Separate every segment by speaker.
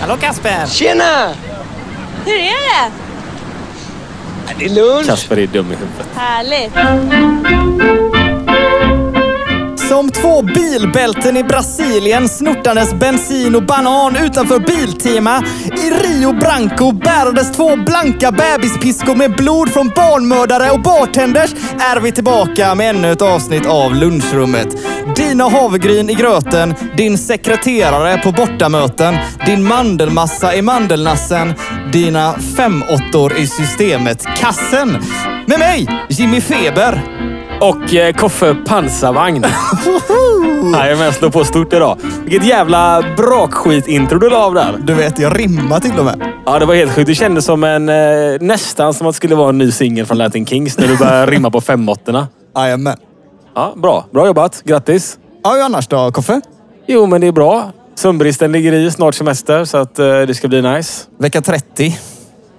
Speaker 1: Hallå Kasper!
Speaker 2: Tjena!
Speaker 3: Hur är det?
Speaker 2: Det är lunch.
Speaker 4: Kasper är dum i huvudet.
Speaker 3: Härligt.
Speaker 1: Som två bilbälten i Brasilien snortades bensin och banan utanför Biltema. I Rio Branco bärades två blanka bebispiskor med blod från barnmördare och bartenders. Är vi tillbaka med ännu ett avsnitt av lunchrummet. Dina havregryn i gröten, din sekreterare på bortamöten, din mandelmassa i mandelnassen, dina femåttor i systemet-kassen. Med mig, Jimmy Feber.
Speaker 4: Och eh, Koffe pansarvagn. Jajamän, slå på stort idag. Vilket jävla brakskitintro du la av där.
Speaker 1: Du vet, jag rimmar till och med.
Speaker 4: Ja, det var helt sjukt. Det kändes som en, eh, nästan som att det skulle vara en ny singel från Latin Kings när du började rimma på femåttorna.
Speaker 1: Jajamän.
Speaker 4: Ja, bra. Bra jobbat. Grattis.
Speaker 1: Ah, Ja, hur annars då, Koffe?
Speaker 4: Jo, men det är bra. Sömnbristen ligger i. Snart semester, så att, eh, det ska bli nice.
Speaker 1: Vecka 30.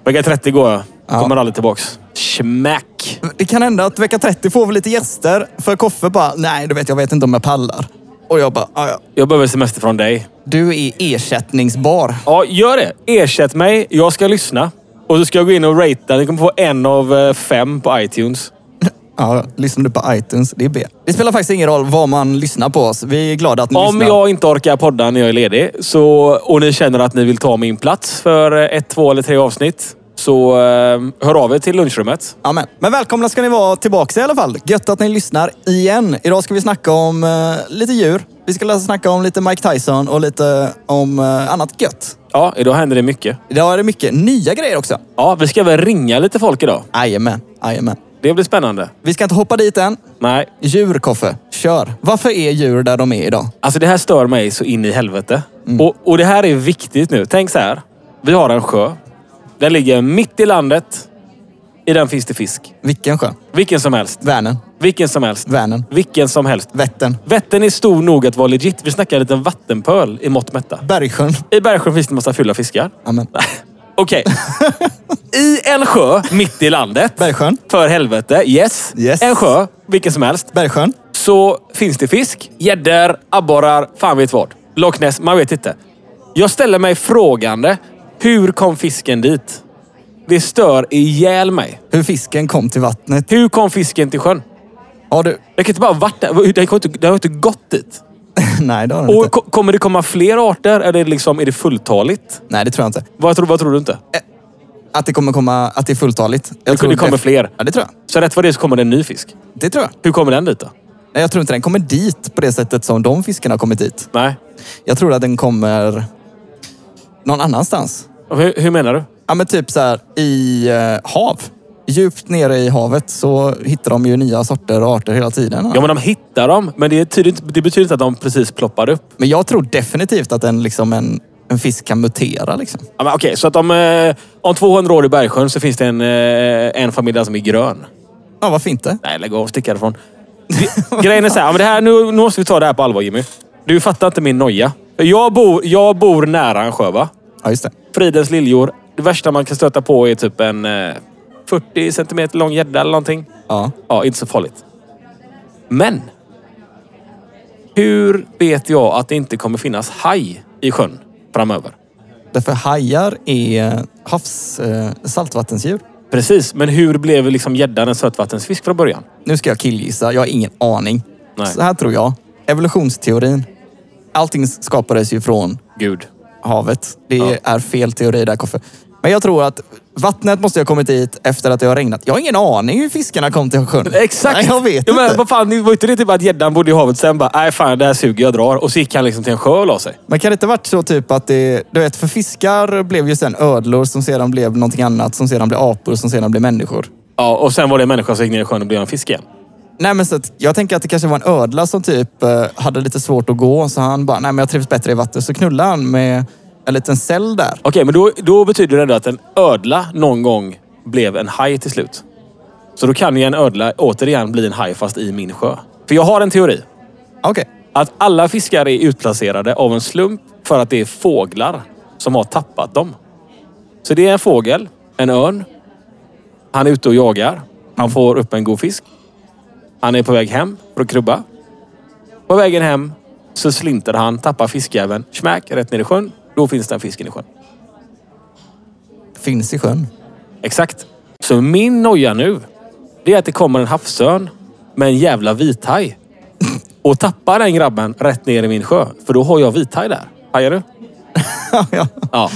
Speaker 4: Vecka 30 går jag.
Speaker 1: Ja.
Speaker 4: Kommer aldrig tillbaks. Schmack!
Speaker 1: Det kan hända att vecka 30 får vi lite gäster. För Koffe bara, nej du vet jag vet inte om jag pallar. Och jag bara, "Ah, "Ja, ja.
Speaker 4: Jag behöver semester från dig.
Speaker 1: Du är ersättningsbar.
Speaker 4: Ja, gör det. Ersätt mig. Jag ska lyssna. Och så ska jag gå in och ratea. Ni kommer få en av eh, fem på iTunes.
Speaker 1: Ja, lyssnar du på iTunes, det är B. Det spelar faktiskt ingen roll vad man lyssnar på oss. Vi är glada att ni
Speaker 4: Om
Speaker 1: lyssnar.
Speaker 4: jag inte orkar podda när jag är ledig så, och ni känner att ni vill ta min plats för eh, ett, två eller tre avsnitt så eh, hör av er till lunchrummet.
Speaker 1: Amen. Men välkomna ska ni vara tillbaka i alla fall. Gött att ni lyssnar igen. Idag ska vi snacka om eh, lite djur. Vi ska läsa- snacka om lite Mike Tyson och lite om eh, annat gött.
Speaker 4: Ja, idag händer det mycket.
Speaker 1: Idag är det mycket nya grejer också.
Speaker 4: Ja, vi ska väl ringa lite folk idag.
Speaker 1: Jajamän, jajamän.
Speaker 4: Det blir spännande.
Speaker 1: Vi ska inte hoppa dit än.
Speaker 4: Nej,
Speaker 1: Djur, Koffe. Kör. Varför är djur där de är idag?
Speaker 4: alltså det här stör mig så in i helvete. Och, och det här är viktigt nu. Tänk så här. Vi har en sjö. Den ligger mitt i landet. I den finns det fisk.
Speaker 1: Vilken sjö?
Speaker 4: Vilken som helst.
Speaker 1: Vänern.
Speaker 4: Vilken som helst.
Speaker 1: Vänern.
Speaker 4: Vilken som helst.
Speaker 1: Vättern.
Speaker 4: Vättern är stor nog att vara legit. Vi snackar en liten vattenpöl i mått mätta.
Speaker 1: Bergsjön.
Speaker 4: I Bergsjön finns det en massa fulla fiskar.
Speaker 1: Amen.
Speaker 4: Okej. I en sjö mitt i landet.
Speaker 1: Bergsjön.
Speaker 4: För helvete. Yes.
Speaker 1: Yes.
Speaker 4: En sjö, vilken som helst.
Speaker 1: Bergsjön.
Speaker 4: Så finns det fisk, gäddor, abborrar, fan vet vad. Loch Ness, man vet inte. Jag ställer mig frågande. Hur kom fisken dit? Det stör ihjäl mig.
Speaker 1: Hur fisken kom till vattnet.
Speaker 4: Hur kom fisken till sjön?
Speaker 1: Ja du.
Speaker 4: Den kan inte bara ha varit där. Den, kan inte, den har inte gått dit.
Speaker 1: Nej, det har den
Speaker 4: Och
Speaker 1: inte.
Speaker 4: ko- kommer det komma fler arter? Eller liksom, är det fulltaligt?
Speaker 1: Nej, det tror jag inte.
Speaker 4: Vad tror, vad tror du inte?
Speaker 1: Att det kommer komma... Att det är fulltaligt. Jag
Speaker 4: det kommer
Speaker 1: def-
Speaker 4: fler.
Speaker 1: Ja, det tror jag.
Speaker 4: Så rätt vad det är så kommer det en ny fisk.
Speaker 1: Det tror jag.
Speaker 4: Hur kommer den dit då?
Speaker 1: Nej, jag tror inte den kommer dit på det sättet som de fiskarna har kommit dit.
Speaker 4: Nej.
Speaker 1: Jag tror att den kommer någon annanstans.
Speaker 4: Hur, hur menar du?
Speaker 1: Ja, men typ så här i eh, hav. Djupt nere i havet så hittar de ju nya sorter och arter hela tiden.
Speaker 4: Ja, men de hittar dem. Men det, är tydligt, det betyder inte att de precis ploppar upp.
Speaker 1: Men jag tror definitivt att en, liksom en, en fisk kan mutera. Liksom.
Speaker 4: Ja, men okej, så att om, eh, om 200 år i Bergsjön så finns det en, eh, en familj där som är grön.
Speaker 1: Ja, varför inte?
Speaker 4: Nej, lägg av. Stick härifrån. Det- Grejen är så här, ja, men det här nu, nu måste vi ta det här på allvar Jimmy. Du fattar inte min noja. Jag bor, jag bor nära en sjö va?
Speaker 1: Ja, just det.
Speaker 4: Fridens liljor. Det värsta man kan stöta på är typ en eh, 40 centimeter lång gädda eller någonting.
Speaker 1: Ja.
Speaker 4: Ja, inte så farligt. Men! Hur vet jag att det inte kommer finnas haj i sjön framöver?
Speaker 1: Därför hajar är havs, eh, saltvattensdjur.
Speaker 4: Precis, men hur blev liksom gäddan en sötvattensfisk från början?
Speaker 1: Nu ska jag killgissa. Jag har ingen aning.
Speaker 4: Nej.
Speaker 1: Så här tror jag. Evolutionsteorin. Allting skapades ju från
Speaker 4: Gud.
Speaker 1: havet. Det är fel teori där, Koffe. Men jag tror att vattnet måste ha kommit dit efter att det har regnat. Jag har ingen aning hur fiskarna kom till sjön.
Speaker 4: Exakt!
Speaker 1: Nej, jag vet
Speaker 4: Ja, men,
Speaker 1: inte. Men,
Speaker 4: Vad fan, det var inte det typ att gäddan bodde i havet sen bara, nej fan det här suger, jag drar. Och så gick han liksom till en sjö och la sig.
Speaker 1: kan det inte varit så typ att det... Du vet, för fiskar blev ju sen ödlor som sedan blev någonting annat, som sedan blev apor, som sedan blev människor.
Speaker 4: Ja, och sen var det en människa som gick ner i sjön och blev en fisk igen.
Speaker 1: Nej, men så att jag tänker att det kanske var en ödla som typ eh, hade lite svårt att gå. Så han bara, nej men jag trivs bättre i vatten. Så knullade han med en liten cell där.
Speaker 4: Okej, men då, då betyder det ändå att en ödla någon gång blev en haj till slut. Så då kan ju en ödla återigen bli en haj fast i min sjö. För jag har en teori.
Speaker 1: Okej.
Speaker 4: Att alla fiskar är utplacerade av en slump för att det är fåglar som har tappat dem. Så det är en fågel, en örn. Han är ute och jagar. Han får upp en god fisk. Han är på väg hem för att krubba. På vägen hem Så slinter han, tappar fiskjäveln. Smack, rätt ner i sjön. Då finns den fisken i sjön.
Speaker 1: Finns i sjön.
Speaker 4: Exakt. Så min noja nu, det är att det kommer en havsörn med en jävla vithaj. Och tappar den grabben rätt ner i min sjö. För då har jag vithaj där. Hajar du?
Speaker 1: ja.
Speaker 4: Ja.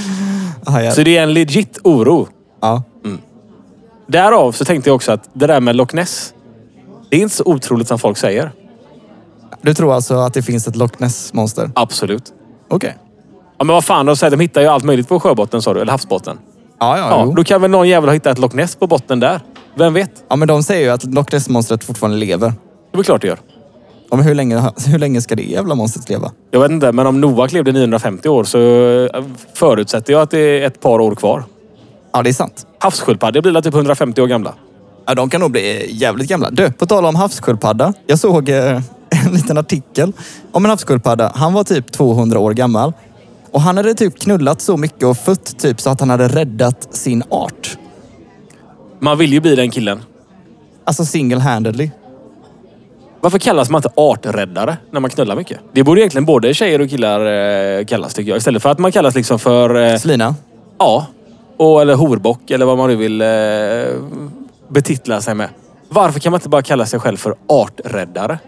Speaker 1: Ah, ja.
Speaker 4: Så det är en legit oro.
Speaker 1: ja.
Speaker 4: Därav så tänkte jag också att det där med Loch Ness. Det är inte så otroligt som folk säger.
Speaker 1: Du tror alltså att det finns ett Loch Ness-monster?
Speaker 4: Absolut.
Speaker 1: Okej.
Speaker 4: Ja, men vad fan, de säger de hittar ju allt möjligt på sjöbotten sa du. Eller havsbotten.
Speaker 1: Ja, ja,
Speaker 4: Ja,
Speaker 1: jo.
Speaker 4: då kan väl någon jävel ha hittat ett Loch Ness på botten där. Vem vet?
Speaker 1: ja, men de säger ju att Loch Ness-monstret fortfarande lever.
Speaker 4: Det är väl klart det gör.
Speaker 1: Ja, men hur länge, hur länge ska det jävla monstret leva?
Speaker 4: Jag vet inte, men om Noak levde 950 år så eh, förutsätter jag att det är ett par år kvar.
Speaker 1: Ja, det är sant.
Speaker 4: Havssköldpaddor blir väl typ 150 år gamla.
Speaker 1: Ja, de kan nog bli jävligt gamla. Du, på tal om havssköldpadda. Jag såg eh, en liten artikel om en havssköldpadda. Han var typ 200 år gammal. Och han hade typ knullat så mycket och fött typ så att han hade räddat sin art.
Speaker 4: Man vill ju bli den killen.
Speaker 1: Alltså single-handedly.
Speaker 4: Varför kallas man inte arträddare när man knullar mycket? Det borde egentligen både tjejer och killar eh, kallas tycker jag. Istället för att man kallas liksom för... Eh,
Speaker 1: Selina,
Speaker 4: ja. Och, eller horbock eller vad man nu vill eh, betitla sig med. Varför kan man inte bara kalla sig själv för arträddare?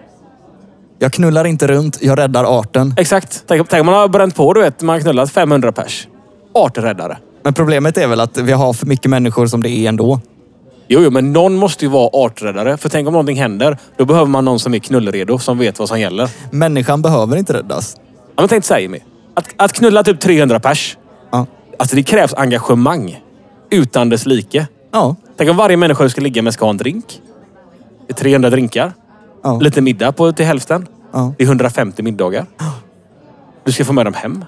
Speaker 1: jag knullar inte runt, jag räddar arten.
Speaker 4: Exakt. Tänk, tänk om man har bränt på, du vet. Man har knullat 500 pers. Arträddare.
Speaker 1: Men problemet är väl att vi har för mycket människor som det är ändå.
Speaker 4: Jo, jo, men någon måste ju vara arträddare. För tänk om någonting händer. Då behöver man någon som är knullredo, som vet vad som gäller.
Speaker 1: Människan behöver inte räddas.
Speaker 4: Ja, men tänk så här Jimmy. Att, att knulla typ 300 pers.
Speaker 1: Ja.
Speaker 4: Alltså det krävs engagemang. Utan dess like.
Speaker 1: Ja.
Speaker 4: Tänk om varje människa du ska ligga med ska ha en drink. Det är 300 drinkar.
Speaker 1: ja.
Speaker 4: Lite middag på, till hälften.
Speaker 1: Ja.
Speaker 4: Det är 150 middagar. Du ska få med dem hem.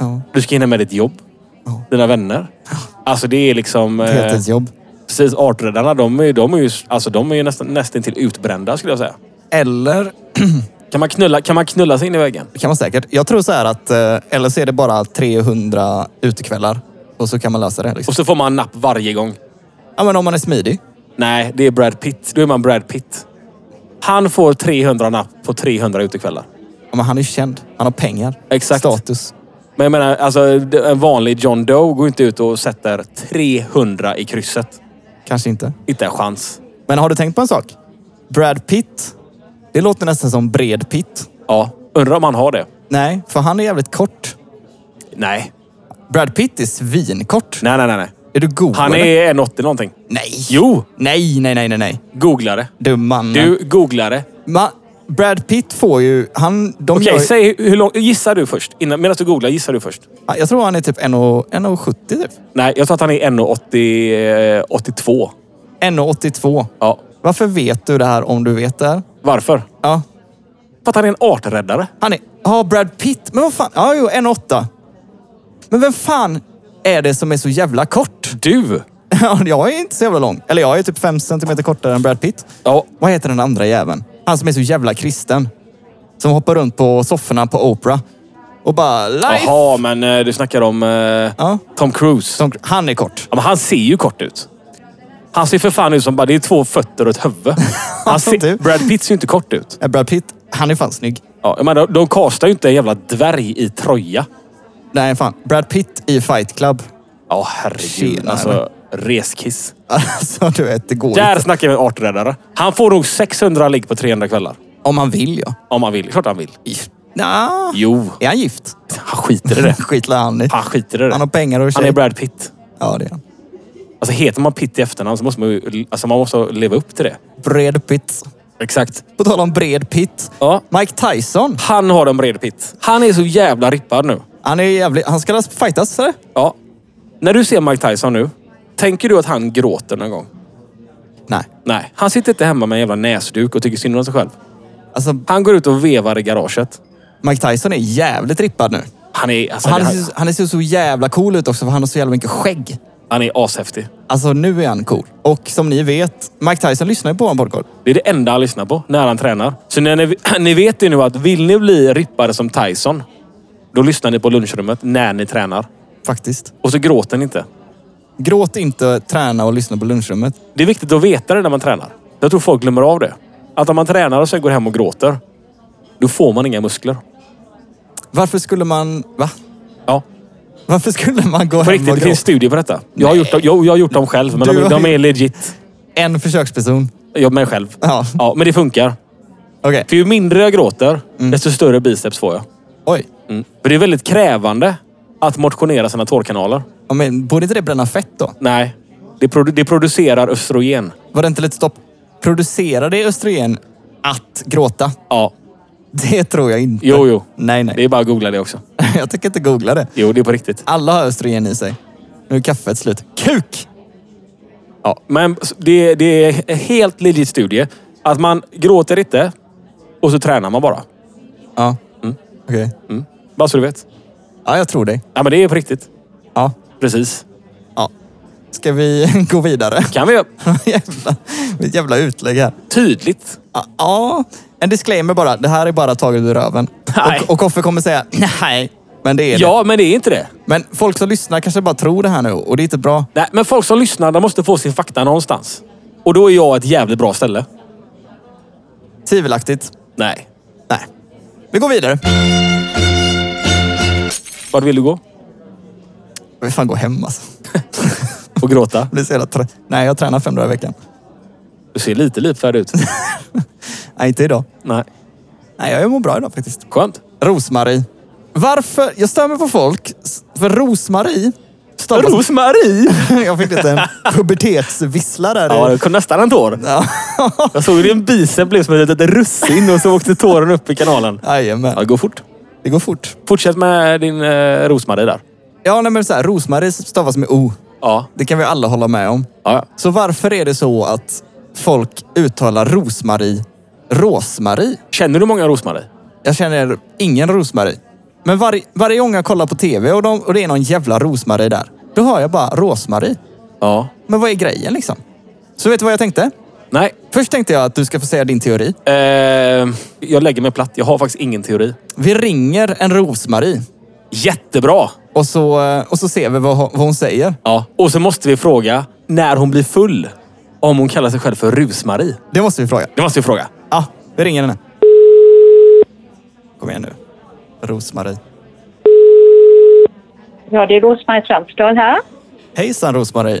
Speaker 1: ja.
Speaker 4: Du ska hinna med ditt jobb.
Speaker 1: Ja.
Speaker 4: Dina vänner. Alltså det är liksom... Eh,
Speaker 1: Heltidsjobb.
Speaker 4: precis, arträddarna de är, ju- de är ju, alltså, de är ju nästan, nästan till utbrända skulle jag säga.
Speaker 1: Eller
Speaker 4: Kan man knulla, kan man knulla sig in i väggen?
Speaker 1: Det kan man säkert. Jag tror så här att, eh, eller så är det bara 300 utekvällar och så kan man lösa det. Liksom.
Speaker 4: Och så får man en napp varje gång.
Speaker 1: Ja, men om man är smidig.
Speaker 4: Nej, det är Brad Pitt. Då är man Brad Pitt. Han får 300 napp på 300 utekvällar.
Speaker 1: Ja, men han är ju känd. Han har pengar.
Speaker 4: Exakt.
Speaker 1: Status.
Speaker 4: Men jag menar, alltså, d- en vanlig John Doe går inte ut och sätter 300 i krysset.
Speaker 1: Kanske inte.
Speaker 4: Inte en chans.
Speaker 1: Men har du tänkt på en sak? Brad Pitt. Det låter nästan som Bred Pitt.
Speaker 4: Ja, undrar om han har det.
Speaker 1: Nej, för han är jävligt kort.
Speaker 4: Nej,
Speaker 1: Brad Pitt är svinkort.
Speaker 4: nej, nej, nej. nej.
Speaker 1: Är du god
Speaker 4: Han
Speaker 1: eller?
Speaker 4: är 180 någonting.
Speaker 1: Nej.
Speaker 4: Jo,
Speaker 1: Nej, nej, nej, nej, nej.
Speaker 4: googlare.
Speaker 1: Du mannen.
Speaker 4: Du, googlare.
Speaker 1: Ma- Brad Pitt får ju... Han, de
Speaker 4: Okej,
Speaker 1: gör, ju-
Speaker 4: säg hur hur lång... Gissar du först? Innan, medan du googlar, gissar du först?
Speaker 1: Jag tror han är typ 1,70 typ.
Speaker 4: Nej, jag tror att han är 1,80, eh, 82.
Speaker 1: 1,82.
Speaker 4: Ja,
Speaker 1: Varför vet du det här om du vet det här?
Speaker 4: varför?
Speaker 1: Ja,
Speaker 4: För att han är en arträddare.
Speaker 1: han är... Ja, Brad Pitt. Men vad fan? Ja, jo, en åtta. Men vem fan är det som är så jävla kort?
Speaker 4: Du!
Speaker 1: Ja, jag är inte så jävla lång. Eller jag är typ fem centimeter kortare än Brad Pitt.
Speaker 4: Ja,
Speaker 1: Vad heter den andra jäveln? Han som är så jävla kristen. Som hoppar runt på sofforna på Oprah. Och bara life!
Speaker 4: Jaha, men eh, du snackar om eh,
Speaker 1: Ja.
Speaker 4: Tom Cruise.
Speaker 1: Som, han är kort.
Speaker 4: Ja, men han ser ju kort ut. Han ser för fan ut som bara det är två fötter och ett huvud. Han
Speaker 1: som du.
Speaker 4: ser, Brad Pitt ser ju inte kort ut.
Speaker 1: Ja, Brad Pitt, han är fan snygg.
Speaker 4: Ja, jag menar, de kastar ju inte en jävla dvärg i Troja.
Speaker 1: Nej, fan. Brad Pitt i Fight Club.
Speaker 4: Ja, herregud.
Speaker 1: Tjenare.
Speaker 4: Alltså, reskiss.
Speaker 1: Alltså, du vet, det går
Speaker 4: Där
Speaker 1: inte.
Speaker 4: snackar vi en arträddare. Han får nog 600 ligg på 300 kvällar.
Speaker 1: Om han vill, ja.
Speaker 4: Om han vill. Klart han vill.
Speaker 1: Nja.
Speaker 4: Jo,
Speaker 1: Är han gift?
Speaker 4: han skiter i det.
Speaker 1: Skitlar han i.
Speaker 4: Han skiter i det.
Speaker 1: Han har pengar och
Speaker 4: Han är
Speaker 1: tjej.
Speaker 4: Brad Pitt.
Speaker 1: Ja, det är han.
Speaker 4: Alltså, heter man Pitt i efternamn så måste man ju alltså, man måste leva upp till det.
Speaker 1: Bred pitt.
Speaker 4: Exakt.
Speaker 1: På tal om bred pitt.
Speaker 4: Ja.
Speaker 1: Mike Tyson.
Speaker 4: Han har en bred pitt. Han är så jävla rippad nu.
Speaker 1: Han är jävligt... Han ska fightas, eller?
Speaker 4: Ja. När du ser Mike Tyson nu, tänker du att han gråter någon gång?
Speaker 1: Nej.
Speaker 4: Nej, han sitter inte hemma med en jävla näsduk och tycker synd om sig själv.
Speaker 1: Alltså,
Speaker 4: Han går ut och vevar i garaget.
Speaker 1: Mike Tyson är jävligt rippad nu.
Speaker 4: Han är, alltså,
Speaker 1: Han,
Speaker 4: han,
Speaker 1: ser, han ser så jävla cool ut också för han har så jävla mycket skägg.
Speaker 4: han är ashäftig.
Speaker 1: Alltså nu är han cool. Och som ni vet, Mike Tyson lyssnar ju på en podcast.
Speaker 4: Det är det enda han lyssnar på när han tränar. Så när ni, ni vet ju nu att vill ni bli rippare som Tyson, då lyssnar ni på lunchrummet när ni tränar.
Speaker 1: Faktiskt.
Speaker 4: Och så gråter ni inte.
Speaker 1: Gråt inte, träna och lyssna på lunchrummet.
Speaker 4: Det är viktigt att veta det när man tränar. Jag tror folk glömmer av det. Att om man tränar och sen går hem och gråter, Då får man inga muskler.
Speaker 1: Varför skulle man... Va?
Speaker 4: Ja,
Speaker 1: Varför skulle man gå
Speaker 4: på
Speaker 1: hem
Speaker 4: riktigt.
Speaker 1: och
Speaker 4: Det
Speaker 1: gråta?
Speaker 4: finns studier på detta. Jag har gjort dem, jo, jag har gjort dem själv, men
Speaker 1: Du
Speaker 4: de,
Speaker 1: har
Speaker 4: de
Speaker 1: ju-
Speaker 4: är legit.
Speaker 1: En försöksperson.
Speaker 4: Jag med själv.
Speaker 1: Ja.
Speaker 4: Ja, men det funkar.
Speaker 1: Okej.
Speaker 4: För ju mindre jag gråter,
Speaker 1: Mm.
Speaker 4: desto större biceps får jag.
Speaker 1: Oj.
Speaker 4: Mm. För det är väldigt krävande att motionera sina tårkanaler.
Speaker 1: Ja, men borde inte det bränna fett då?
Speaker 4: Nej, det, produ- det producerar östrogen.
Speaker 1: Var det inte lite stopp? Producerar det östrogen att gråta?
Speaker 4: Ja,
Speaker 1: Det tror jag inte.
Speaker 4: Jo, jo.
Speaker 1: Nej, nej.
Speaker 4: det är bara att googla det också.
Speaker 1: Jag tänker inte googla det.
Speaker 4: Jo, det är på riktigt.
Speaker 1: Alla har östrogen i sig. Nu är kaffet slut. Kuk!
Speaker 4: Ja, men s- det, det är en helt legit studie. Att man gråter inte och så tränar man bara.
Speaker 1: Ja.
Speaker 4: Mm.
Speaker 1: Okej.
Speaker 4: Bara så du vet.
Speaker 1: Ja, jag tror dig.
Speaker 4: Ja, men det är på riktigt.
Speaker 1: Ja.
Speaker 4: Precis.
Speaker 1: ja. Ska vi gå vidare?
Speaker 4: Kan vi göra
Speaker 1: jävla, mitt jävla utlägg här.
Speaker 4: tydligt?
Speaker 1: Ja, Ja, en disclaimer bara. Det här är bara taget ur röven.
Speaker 4: Nej.
Speaker 1: Och, och Koffe kommer säga nej, men det är det.
Speaker 4: Ja, men det är inte det.
Speaker 1: Men folk som lyssnar kanske bara tror det här nu och det är inte bra.
Speaker 4: Nej, men folk som lyssnar, de måste få sin fakta någonstans. Och då är jag ett jävligt bra ställe.
Speaker 1: Tvivelaktigt.
Speaker 4: Nej.
Speaker 1: Nej. Vi går vidare.
Speaker 4: Vart vill du gå?
Speaker 1: Vi fan gå hem alltså.
Speaker 4: Och gråta?
Speaker 1: Jag blir så jävla trött. Nej, jag tränar fem dagar i veckan.
Speaker 4: Du ser lite livfärdig ut.
Speaker 1: Nej, inte idag.
Speaker 4: Nej.
Speaker 1: Nej, jag mår bra idag faktiskt.
Speaker 4: Skönt.
Speaker 1: Rosmarie. Varför? Jag stämmer på folk. s- För Rosmarie stavas...
Speaker 4: Rosmarie!
Speaker 1: jag fick lite en pubertetsvissla där. i-
Speaker 4: Ja, det kom nästan en tår.
Speaker 1: Ja.
Speaker 4: Jag såg hur din bicep blev som ett litet russin och så åkte tåren upp i kanalen.
Speaker 1: Jajamän.
Speaker 4: Ja, det går fort.
Speaker 1: Det går fort.
Speaker 4: Fortsätt med din eh, Rosmarie där.
Speaker 1: Ja, nej, men så här, Rosmarie stavas med O.
Speaker 4: Ja.
Speaker 1: Det kan vi alla hålla med om.
Speaker 4: ja.
Speaker 1: Så varför är det så att folk uttalar Rosmarie Rosmarie?
Speaker 4: Känner du många Rosmarie?
Speaker 1: Jag känner ingen Rosmarie. Men varje, varje gång jag kollar på tv och, de, och det är någon jävla Rosmarie där, då hör jag bara Rosmarie.
Speaker 4: Ja.
Speaker 1: Men vad är grejen liksom? Så vet du vad jag tänkte?
Speaker 4: Nej.
Speaker 1: Först tänkte jag att du ska få säga din teori.
Speaker 4: Eh, jag lägger mig platt. Jag har faktiskt ingen teori.
Speaker 1: Vi ringer en Rosmarie
Speaker 4: Jättebra!
Speaker 1: och så, och så ser vi vad, hon- vad hon säger.
Speaker 4: Ja. Och så måste vi fråga när hon blir full. Om hon kallar sig själv för Rusmarie.
Speaker 1: Det måste vi fråga.
Speaker 4: Det måste vi fråga.
Speaker 1: Ja, vi ringer henne. Kom igen nu. Rosmarie.
Speaker 5: Ja, det är Rose-Marie Strömstad här.
Speaker 1: Hejsan Rosmarie.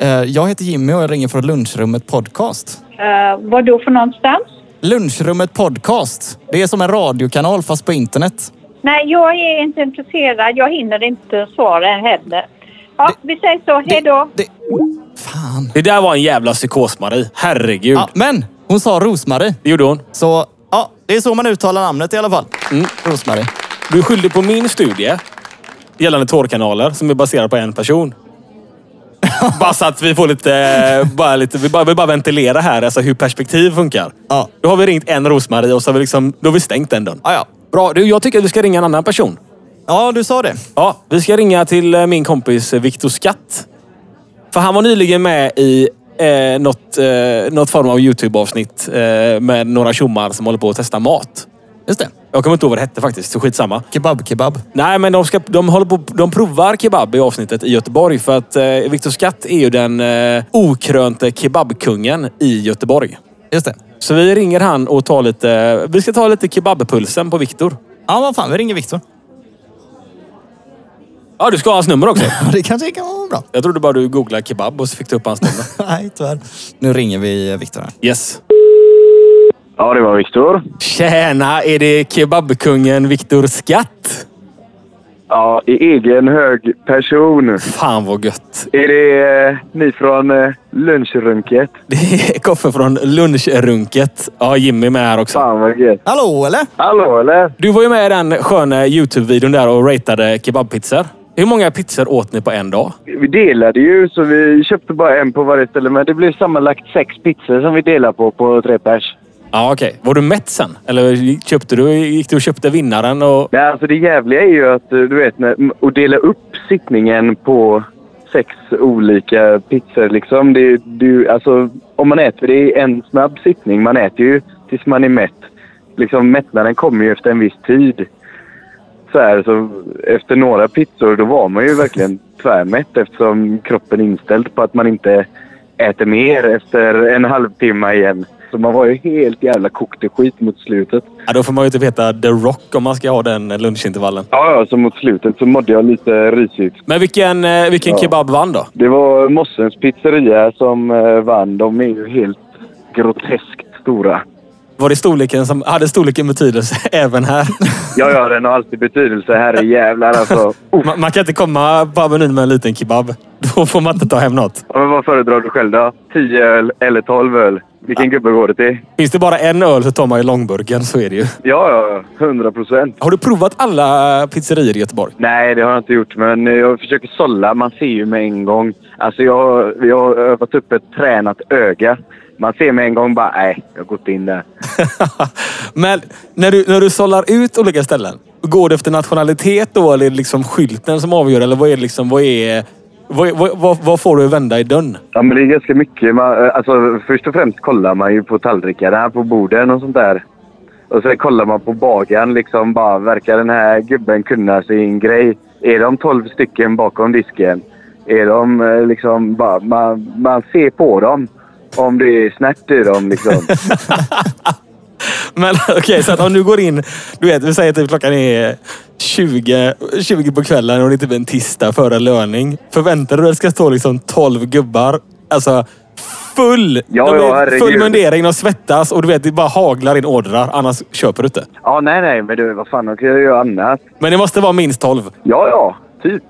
Speaker 1: Eh, Jag heter Jimmy och jag ringer från Lunchrummet Podcast.
Speaker 5: Eh, var då för någonstans?
Speaker 1: Lunchrummet Podcast. Det är som en radiokanal fast på internet.
Speaker 5: Nej, jag är inte intresserad. Jag hinner inte svara än heller. Ja, vi säger så. Hej då.
Speaker 1: Det... Fan.
Speaker 4: Det där var en jävla psykos-Marie. Herregud.
Speaker 1: Ja, men hon sa Rosmarie.
Speaker 4: Det gjorde hon.
Speaker 1: Så ja, det är så man uttalar namnet i alla fall. Mm, Rosmarie.
Speaker 4: Du är skyldig på min studie gällande tårkanaler som är baserad på en person. bara så att vi får lite... eh, Bara lite vi, bara, vi bara ventilera här alltså hur perspektiv funkar.
Speaker 1: Ja.
Speaker 4: Då har vi ringt en Rosmarie och så har vi, liksom, då har vi stängt den dörren.
Speaker 1: Ja, ja.
Speaker 4: Bra. Du, jag tycker att du ska ringa en annan person.
Speaker 1: ja, du sa det.
Speaker 4: Ja, vi ska ringa till eh, min kompis eh, Viktor Skatt. För han var nyligen med i eh, något, eh, något form av YouTube-avsnitt eh, med några tjommar som håller på att testa mat.
Speaker 1: Just det.
Speaker 4: Jag kommer inte ihåg vad det hette faktiskt, så skitsamma.
Speaker 1: Kebab, kebab.
Speaker 4: Nej, men de, ska, de, håller på, de provar kebab i avsnittet i Göteborg. För att eh, Viktor Skatt är ju den eh, okrönte kebabkungen i Göteborg.
Speaker 1: Just det.
Speaker 4: Så vi ringer han och tar lite... Vi ska ta lite kebabpulsen på Viktor.
Speaker 1: Ja, vad fan. Vi ringer Viktor.
Speaker 4: Ja, du ska ha hans nummer också.
Speaker 1: Ja, Det kanske kan vara bra.
Speaker 4: Jag trodde bara du googlade kebab och så fick du upp hans nummer.
Speaker 1: Nej, tyvärr. Nu ringer vi eh, Viktor här.
Speaker 4: Yes.
Speaker 6: Ja, det var Viktor.
Speaker 4: Tjena, är det kebabkungen Viktor Skatt?
Speaker 6: Ja, i egen hög person.
Speaker 4: Fan vad gött.
Speaker 6: Är det eh, ni från eh, lunchrunket?
Speaker 4: Det är Koffe från lunchrunket. Ja, Jimmy med här också.
Speaker 6: Fan vad gött.
Speaker 1: Hallå, eller?
Speaker 6: Hallå eller?
Speaker 4: Du var ju med i den sköna Youtube-videon där och ratade kebabpizzor. Hur många pizzor åt ni på en dag?
Speaker 6: Vi delade ju så vi köpte bara en på varje ställe men det blev sammanlagt sex pizzor som vi delade på på tre pers.
Speaker 4: Ja, okej. Var du mätt sen? Eller köpte du, gick du och köpte vinnaren? Och...
Speaker 6: Nej, alltså det jävliga är ju att eh, du vet när, att dela upp sittningen på sex olika pizzor liksom. Det, det, är ju- alltså, om man äter, det är en snabb sittning. Man äter ju tills man är mätt. Liksom, mättnaden kommer ju efter en viss tid. Så här, så efter några pizzor då var man ju verkligen tvärmätt eftersom kroppen är inställd på att man inte äter mer efter en halvtimme igen. Så man var ju helt jävla kokt i skit mot slutet.
Speaker 4: Ja, då får man ju typ heta The Rock om man ska ha den lunchintervallen.
Speaker 6: Ja, ja, så mot slutet så mådde jag lite risigt.
Speaker 4: Men vilken, eh, vilken kebab vann då?
Speaker 6: Det var Mossens pizzeria som eh, vann. De är ju helt groteskt stora.
Speaker 4: Var det storleken som hade storleken betydelse även här?
Speaker 6: Ja, ja, den har alltid betydelse. Herre jävlar alltså. Uff.
Speaker 4: Man, man kan inte komma på menyn med en liten kebab. Då får man inte ta hem något.
Speaker 6: Ja, men vad föredrar du själv då? 10 öl eller 12 öl? Vilken gubbe går det till?
Speaker 4: Finns det bara en öl så tar man ju långburken. Så är det ju.
Speaker 6: Ja, ja, ja. 100 procent.
Speaker 4: Har du provat alla pizzerior i Göteborg?
Speaker 6: Nej, det har jag inte gjort, men jag försöker sålla. Man ser ju med en gång. Alltså, jag, jag har övat upp ett tränat öga. Man ser med en gång bara, nej, jag har gått in där.
Speaker 4: Men när du, när du sållar ut olika ställen, går det efter nationalitet då? Eller är det liksom skylten som avgör? Eller vad är det liksom, vad är... Vad, är- vad, vad, vad får du att vända i dörren?
Speaker 6: Ja, men det är ganska mycket. Man, alltså, först och främst kollar man ju på tallrikarna, på borden och sånt där. Och sen kollar man på bagaren. Liksom, bara, verkar den här gubben kunna sin grej? Är de 12 stycken bakom disken? Är de eh, liksom bara, man, man ser på dem om det är snärt i dem. Liksom.
Speaker 4: Men okej, så att om du går in... Du vet, vi säger typ klockan är 20, 20 på kvällen och det är typ en tisdag före löning. Förväntar du dig att det ska stå liksom 12 gubbar? Alltså full,
Speaker 6: Ja,
Speaker 4: de är
Speaker 6: ja, herregud.
Speaker 4: full mundering, de svettas och du vet, det bara haglar in ordrar. Annars köper du inte.
Speaker 6: ja, nej, nej, men du, vad fan, de kan ju göra annat.
Speaker 4: Men det måste vara minst 12.
Speaker 6: Ja, ja, typ.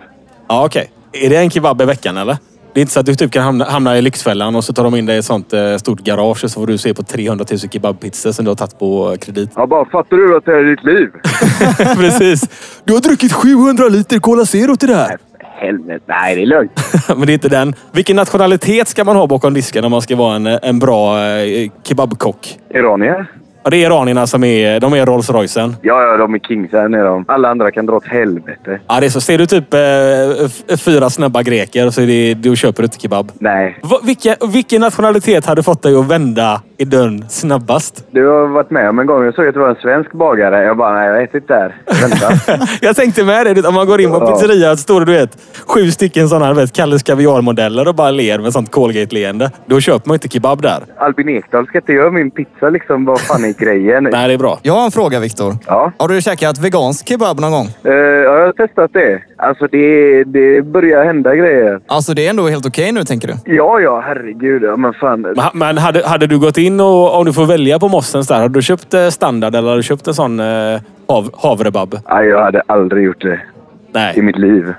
Speaker 4: Ja, okej. Är det en kebab i veckan eller? Det är inte så att du typ kan hamna, hamna i Lyxfällan och så tar de in dig i ett sånt eh, stort garage och så får du se på 300 000 kebabpizzor som du har tagit på eh, kredit.
Speaker 6: Ja, bara fattar du att det här är ditt liv?
Speaker 4: Precis. Du har druckit 700 liter Cola Zero till det här.
Speaker 6: Helvete, nej det är lugnt.
Speaker 4: Men det är inte den. Vilken nationalitet ska man ha bakom disken om man ska vara en, eh, en bra eh, kebabkock?
Speaker 6: Iranier?
Speaker 4: Ja, det är iranierna som är... De är Rolls Roycen.
Speaker 6: Ja, ja, de är kings här nere. de. Alla andra kan dra åt helvete.
Speaker 4: Ja, det är så. Ser du typ eh, f- fyra snabba greker så är det, då köper du inte kebab.
Speaker 6: Nej,
Speaker 4: Va, vilka, vilken nationalitet hade fått dig att vända i dörren snabbast?
Speaker 6: Du har varit med om en gång. Jag såg att det var en svensk bagare. Jag bara, nej, jag äter inte där. Vänta.
Speaker 4: Jag tänkte med det. du vet, Om man går in på
Speaker 6: Ja.
Speaker 4: pizzeria så står det du vet, sju stycken sådana här, du vet, Kalles Kaviar-modeller och bara ler med sånt Colgate-leende. Då köper man inte kebab där.
Speaker 6: Albin Ekdal ska inte göra min pizza liksom. Vad fan är grejen?
Speaker 4: Nej, det är bra.
Speaker 1: Jag har en fråga Viktor.
Speaker 6: Ja.
Speaker 1: Har du käkat vegansk kebab någon gång?
Speaker 6: Eh, ja, jag har testat det. Alltså det, det börjar hända grejer.
Speaker 1: Alltså det är ändå helt okej nu tänker du?
Speaker 6: Ja, ja, herregud. Ja, men fan.
Speaker 4: Men ha- Men hade, hade du gått in och om du får välja på Mossens där, hade du köpt eh, standard eller hade du köpt en sån eh, hav, havrebab?
Speaker 6: Nej, jag hade aldrig gjort det i
Speaker 4: Nej,
Speaker 6: mitt liv.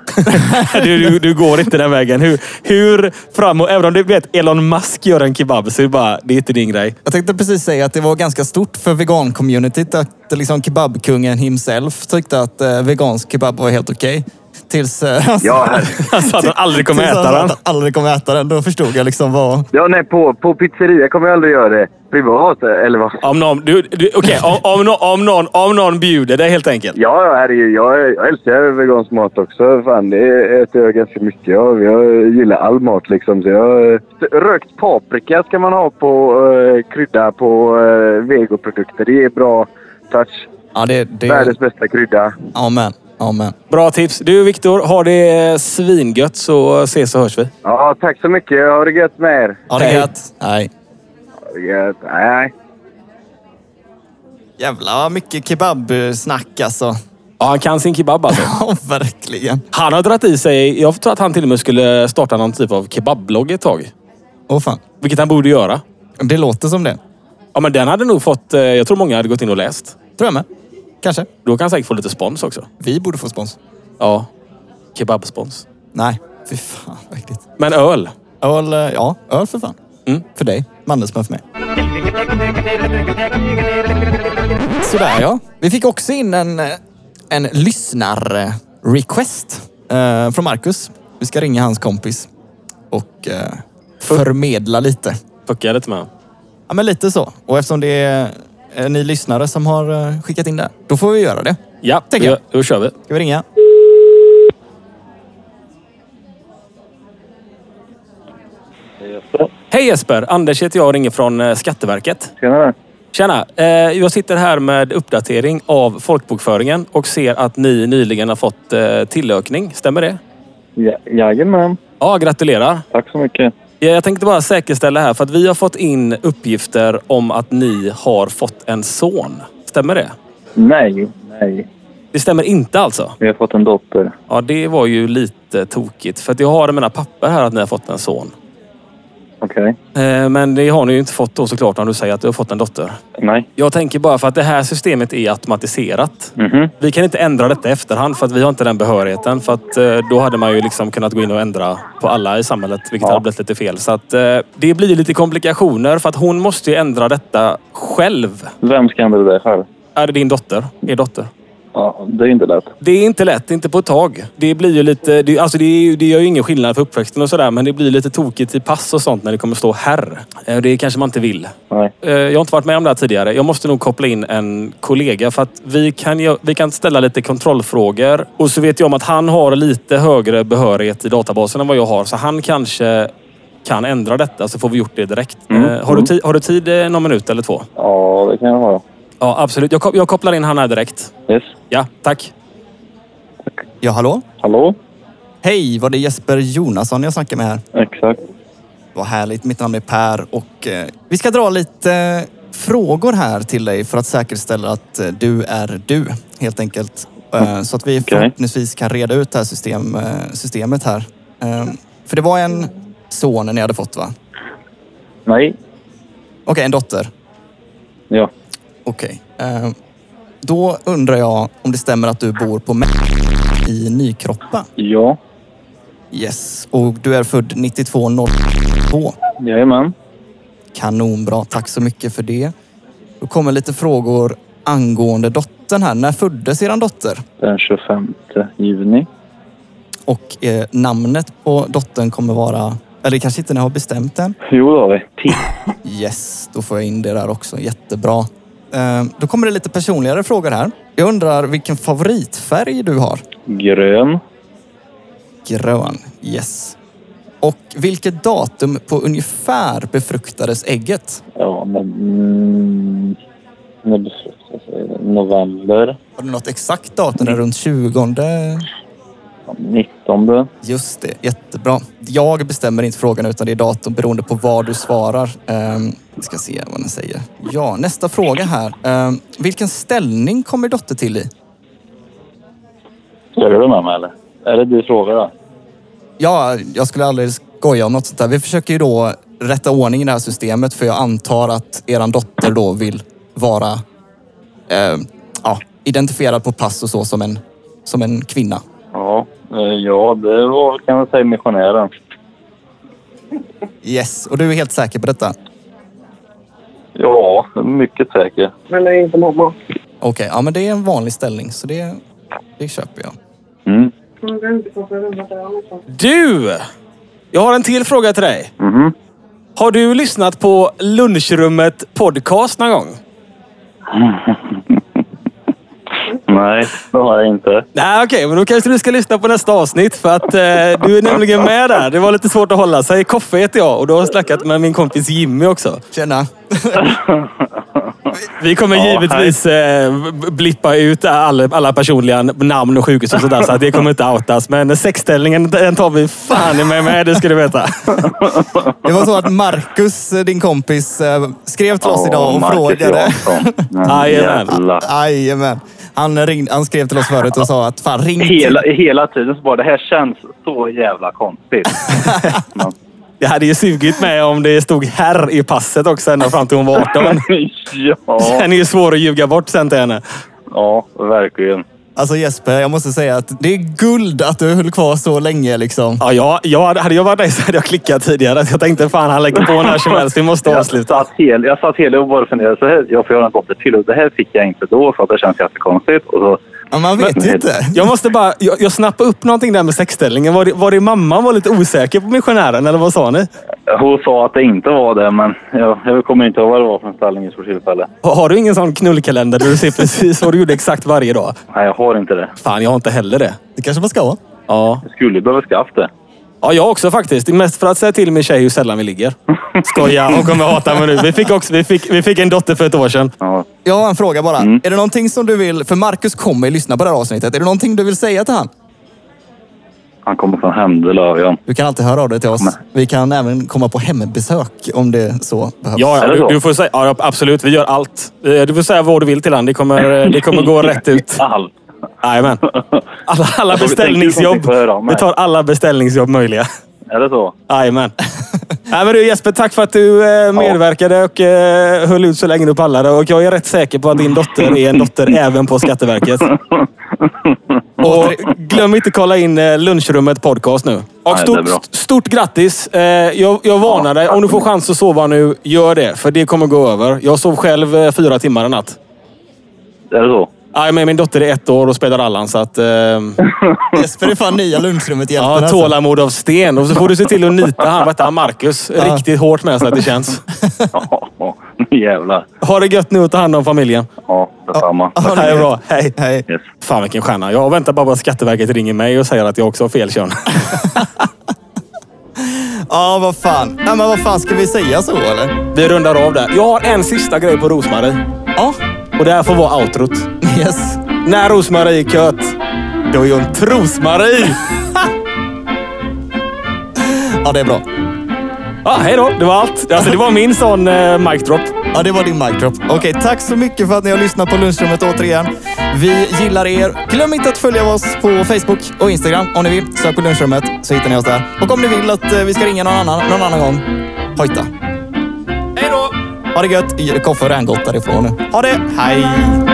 Speaker 4: du, du, du går inte den vägen. Hur, hur fram och Även om du vet Elon Musk gör en kebab så är det bara, det är inte din grej.
Speaker 1: Jag tänkte precis säga att det var ganska stort för vegan-communityt att liksom kebabkungen himself tyckte att eh, vegansk kebab var helt okej. Tills... Eh, alltså,
Speaker 6: Ja, herregud.
Speaker 4: Alltså att han aldrig kommer
Speaker 1: tills
Speaker 4: äta
Speaker 1: han sa
Speaker 4: den.
Speaker 1: att han Aldrig kommer äta den. Då förstod jag liksom vad...
Speaker 6: ja nej, på, på pizzeria kommer jag aldrig göra det. Privat, eller vad?
Speaker 4: Om någon, du, du, okej, om, om, nå- om, någon, om någon bjuder dig helt enkelt.
Speaker 6: Ja, ja, herregud. Jag, jag älskar vegansk mat också. Fan, det äter jag ganska mycket av. Jag gillar all mat liksom. Så jag, rökt paprika ska man ha på eh, krydda på eh, vegoprodukter. Det är bra touch.
Speaker 1: Ja, det... det
Speaker 6: Världens bästa krydda.
Speaker 1: amen. Amen.
Speaker 4: Bra tips. Du Viktor, ha det eh, svingött så ses och hörs vi.
Speaker 6: Ja, tack så mycket. Ha det gött med er.
Speaker 1: Ja, det
Speaker 4: Hej.
Speaker 1: är gött. Nej.
Speaker 6: Ha det gött. Nej, nej.
Speaker 1: Jävlar vad mycket kebabsnack alltså.
Speaker 4: Ja, han kan sin kebab alltså.
Speaker 1: Ja, verkligen.
Speaker 4: Han har dragit i sig... Jag tror att han till och med skulle starta någon typ av kebabblogg ett tag.
Speaker 1: Åh fan.
Speaker 4: Vilket han borde göra.
Speaker 1: Det låter som det.
Speaker 4: Ja, men den hade nog fått... eh, Jag tror många hade gått in och läst.
Speaker 1: Tror jag med. Kanske.
Speaker 4: Då kan han säkert få lite spons också.
Speaker 1: Vi borde få spons.
Speaker 4: Ja. Kebabspons.
Speaker 1: Nej, fy fan vad äckligt.
Speaker 4: Men öl.
Speaker 1: Öl, eh, ja. Öl för fan.
Speaker 4: Mm.
Speaker 1: För dig. Mandelsmör för mig. Sådär ja. Vi fick också in en, eh, en lyssnar-request eh, från Marcus. Vi ska ringa hans kompis och eh, förmedla lite.
Speaker 4: Fuckar jag lite med.
Speaker 1: Ja, men lite så. Och eftersom det är eh, ni lyssnare som har eh, skickat in det, här, då får vi göra det.
Speaker 4: Ja,
Speaker 1: Tänker
Speaker 4: då,
Speaker 1: jag.
Speaker 4: då kör vi.
Speaker 1: Ska vi ringa?
Speaker 4: Hej Jesper! Anders heter jag och ringer från eh, Skatteverket.
Speaker 6: Tjena.
Speaker 4: Tjena! Eh, jag sitter här med uppdatering av folkbokföringen och ser att ni nyligen har fått eh, tillökning. Stämmer det?
Speaker 6: Ja, jajamän.
Speaker 4: Ja, gratulerar!
Speaker 6: Tack så mycket.
Speaker 4: Ja, Jag tänkte bara säkerställa här, för att vi har fått in uppgifter om att ni har fått en son. Stämmer det?
Speaker 7: Nej, nej.
Speaker 4: Det stämmer inte alltså?
Speaker 7: Vi har fått en dotter.
Speaker 4: Ja, det var ju lite tokigt. För att jag har i mina papper här att ni har fått en son.
Speaker 7: Okej.
Speaker 4: Eh, Men det har ni ju inte fått då såklart när du säger att du har fått en dotter.
Speaker 7: Nej.
Speaker 4: Jag tänker bara för att det här systemet är automatiserat.
Speaker 7: Mhm.
Speaker 4: Vi kan inte ändra detta i efterhand för att vi har inte den behörigheten. För att eh, då hade man ju liksom kunnat gå in och ändra på alla i samhället, vilket hade blivit lite fel. Så att eh, det blir ju lite komplikationer för att hon måste ju ändra detta själv.
Speaker 7: Vem ska ändra det här?
Speaker 4: Är det din dotter? Er dotter?
Speaker 7: Ja, det är inte lätt.
Speaker 4: Det är inte lätt, inte på ett tag. Det blir ju lite... Det, alltså det, är ju- det gör ju ingen skillnad för uppväxten och sådär, men det blir lite tokigt i pass och sånt när det kommer stå herr. Eh, Det kanske man inte vill.
Speaker 7: Nej.
Speaker 4: Eh, Jag har inte varit med om det här tidigare. Jag måste nog koppla in en kollega för att vi kan, ju- vi kan ställa lite kontrollfrågor. Och så vet jag om att han har lite högre behörighet i databasen än vad jag har. Så han kanske kan ändra detta så får vi gjort det direkt. Eh, Har, du ti- har du tid eh, någon minut eller två?
Speaker 7: Ja, det kan jag ha.
Speaker 4: Ja, absolut. Jag, ko- jag kopplar in han här direkt.
Speaker 7: Yes.
Speaker 4: Ja, tack.
Speaker 1: Ja, hallå?
Speaker 7: Hallå?
Speaker 1: Hej, var det Jesper Jonasson jag snackar med här?
Speaker 7: Exakt.
Speaker 1: Vad härligt. Mitt namn är Per och eh, vi ska dra lite eh, frågor här till dig för att säkerställa att eh, du är du, helt enkelt. Eh, så att vi förhoppningsvis kan reda ut det här system, eh, systemet här. Eh, för det var en son ni hade fått, va?
Speaker 7: Nej.
Speaker 1: Okej, en dotter.
Speaker 7: Ja.
Speaker 1: Okej. Eh, då undrar jag om det stämmer att du bor på Mä- i Nykroppa?
Speaker 7: Ja.
Speaker 1: Yes. Och du är född 9202?
Speaker 7: Jajamän.
Speaker 1: Kanonbra, tack så mycket för det. Då kommer lite frågor angående dottern här. När föddes eran dotter?
Speaker 7: Den 25 juni.
Speaker 1: Och eh, namnet på dottern kommer vara... Eller kanske inte ni har bestämt än?
Speaker 7: Jo, det har vi. Ti.
Speaker 1: Yes, då får jag in det där också. Jättebra. Eh, då kommer det lite personligare frågor här. Jag undrar vilken favoritfärg du har?
Speaker 7: Grön.
Speaker 1: Grön. Yes. Och vilket datum på ungefär befruktades ägget?
Speaker 7: Ja, men... Mm, när befruktas det? November.
Speaker 1: Har du något exakt datum? Är det Runt 20
Speaker 7: ja, 19.
Speaker 1: Just det, jättebra. Jag bestämmer inte frågan utan det är datorn beroende på vad du svarar. Ehm, vi ska se vad den säger. Ja, nästa fråga här. Ehm, vilken ställning kommer dotter till i?
Speaker 7: Skojar du med mig eller? Är det du frågar då?
Speaker 1: Ja, jag skulle aldrig skoja om något sånt där. Vi försöker ju då rätta ordning i det här systemet för jag antar att eran dotter då vill vara ehm, ja, identifierad på pass och så som en, som en kvinna.
Speaker 7: Ja, eh, ja det var kan man säga missionären.
Speaker 1: Yes, och du är helt säker på detta?
Speaker 7: Ja, mycket säker.
Speaker 1: Okej, ja men det är en vanlig ställning så det, det köper jag.
Speaker 7: Mm.
Speaker 4: Du! Jag har en till fråga till dig.
Speaker 7: Mhm.
Speaker 4: Har du lyssnat på Lunchrummet podcast någon gång?
Speaker 7: Nej, det har jag inte.
Speaker 4: Nej, okej. men då kanske du ska lyssna på nästa avsnitt. För att eh, du är nämligen med där. Det var lite svårt att hålla sig. Koffe heter jag och du har snackat med min kompis Jimmy också.
Speaker 1: Tjena!
Speaker 4: Vi kommer
Speaker 7: Ja,
Speaker 4: givetvis eh, blippa ut alla, alla personliga namn och sjukhus och sådär. Så att det kommer inte outas. Men sexställningen den tar vi fan i mig med. Det ska du veta.
Speaker 1: Det var så att Marcus, eh, din kompis, eh, skrev till oss idag och
Speaker 7: Marcus
Speaker 1: frågade.
Speaker 7: Jansson. Men
Speaker 4: Jajamän.
Speaker 7: jävlar.
Speaker 1: Jajamän. Han, ringde, han skrev till oss förut och sa att fan ring till-
Speaker 7: Hela, hela tiden så bara, det här känns så jävla konstigt. Men,
Speaker 4: Det hade ju sugit med om det stod herr i passet också ända fram till hon var 18.
Speaker 7: ja,
Speaker 4: Den är ju svår att ljuga bort sen till henne.
Speaker 7: ja, verkligen.
Speaker 1: Alltså Jesper, jag måste säga att det är guld att du höll kvar så länge liksom.
Speaker 4: Ja, jag, jag, hade- hade jag varit dig så hade jag klickat tidigare. Jag tänkte fan han lägger på när som helst. Vi måste
Speaker 7: Jag
Speaker 4: avsluta.
Speaker 7: satt, hel, jag satt hela och bara funderade. Så här, jag får göra en dotter till och det här fick jag inte då för att det känns jättekonstigt. Och så,
Speaker 1: Ja, man vet ju inte.
Speaker 4: Jag måste bara... Jag, jag snappade upp någonting där med sexställningen. Var det, var det mamman var lite osäker på missionären eller vad sa ni?
Speaker 7: hon sa att det inte var det, men jag, jag kommer inte ihåg vad det var för en ställning just för tillfället.
Speaker 4: Har, har du ingen sån knullkalender där du ser precis vad du gjorde exakt varje dag?
Speaker 7: Nej, jag har inte det.
Speaker 4: Fan, jag har inte heller det.
Speaker 1: Det kanske man ska ha.
Speaker 4: Ja.
Speaker 7: Jag skulle behöva skaffa det.
Speaker 4: ja, jag också faktiskt. Det är mest för att säga till min tjej hur sällan vi ligger. Skoja, hon kommer hata mig nu. Vi fick, också, vi, fick, vi fick en dotter för ett år sedan.
Speaker 7: Ja.
Speaker 1: Jag har en fråga bara.
Speaker 7: Mm.
Speaker 1: Är det någonting som du vill, för Marcus kommer ju lyssna på det här avsnittet. Är det någonting du vill säga till han?
Speaker 7: Han kommer från Handel och Örjan.
Speaker 1: Du kan alltid höra av dig till oss. Vi kan även komma på hembesök om det så behövs.
Speaker 4: Ja, ja
Speaker 7: Eller
Speaker 4: du,
Speaker 7: så.
Speaker 4: du får säga, ja, absolut. Vi gör allt. Eh, Du får säga vad du vill till han. Det kommer, eh, det kommer gå rätt ut.
Speaker 7: Allt.
Speaker 4: Jajamän. Alla, alla
Speaker 7: Alltså, vi tänker ju
Speaker 4: beställningsjobb.
Speaker 7: någonting på att höra om
Speaker 4: Vi
Speaker 7: här.
Speaker 4: tar alla beställningsjobb möjliga.
Speaker 7: Är det så?
Speaker 4: Jajamän. Nej, men du Jesper, tack för att du eh, medverkade och eh, höll ut så länge du pallade. Och jag är rätt säker på att din dotter är en dotter även på Skatteverket. Och glöm inte kolla in eh, lunchrummet podcast nu. Och
Speaker 7: Nej, det är
Speaker 4: stort,
Speaker 7: bra.
Speaker 4: stort grattis! Eh, jag, jag varnar dig. Om du får chans att sova nu, gör det. För det kommer gå över. Jag sov själv eh, fyra timmar en natt.
Speaker 7: Är det så?
Speaker 4: Aj, men min dotter är ett år och spelar Allan, så att... ehm,
Speaker 1: Jesper är fan nya lunchrummet hjälpen.
Speaker 4: Ja,
Speaker 1: alltså.
Speaker 4: tålamod av sten. Och så får du se till att nita han, vad heter han, Marcus, riktigt hårt med så att det känns.
Speaker 7: Ja, nu jävlar.
Speaker 4: Ha det gött nu och ta hand om familjen.
Speaker 7: Ja, detsamma.
Speaker 1: Ja,
Speaker 4: Ha det bra. Hej.
Speaker 1: Hej.
Speaker 7: Yes.
Speaker 4: Fan vilken stjärna. Jag väntar bara på att Skatteverket ringer mig och säger att jag också har fel kön.
Speaker 1: Ja, vad fan. Ja, men vad fan, ska vi säga så eller?
Speaker 4: Vi rundar av där. Jag har en sista grej på Rosmarie.
Speaker 1: Ja.
Speaker 4: Och det här får vara outrot.
Speaker 1: Yes.
Speaker 4: När Rosmarie är köt, då är hon Trosmarie!
Speaker 1: Ja, det är bra.
Speaker 4: Ja, hej då. Det var allt. Alltså, det var min sån eh, mic drop.
Speaker 1: Ja, det var din mic drop. Okej, tack så mycket för att ni har lyssnat på lunchrummet återigen. Vi gillar er. Glöm inte att följa oss på Facebook och Instagram om ni vill. Sök på lunchrummet så hittar ni oss där. Och om ni vill att eh, vi ska ringa någon annan någon annan gång, hojta. Hej då! Ha det gött. Koffe har redan gått därifrån nu. Ha det. Hej!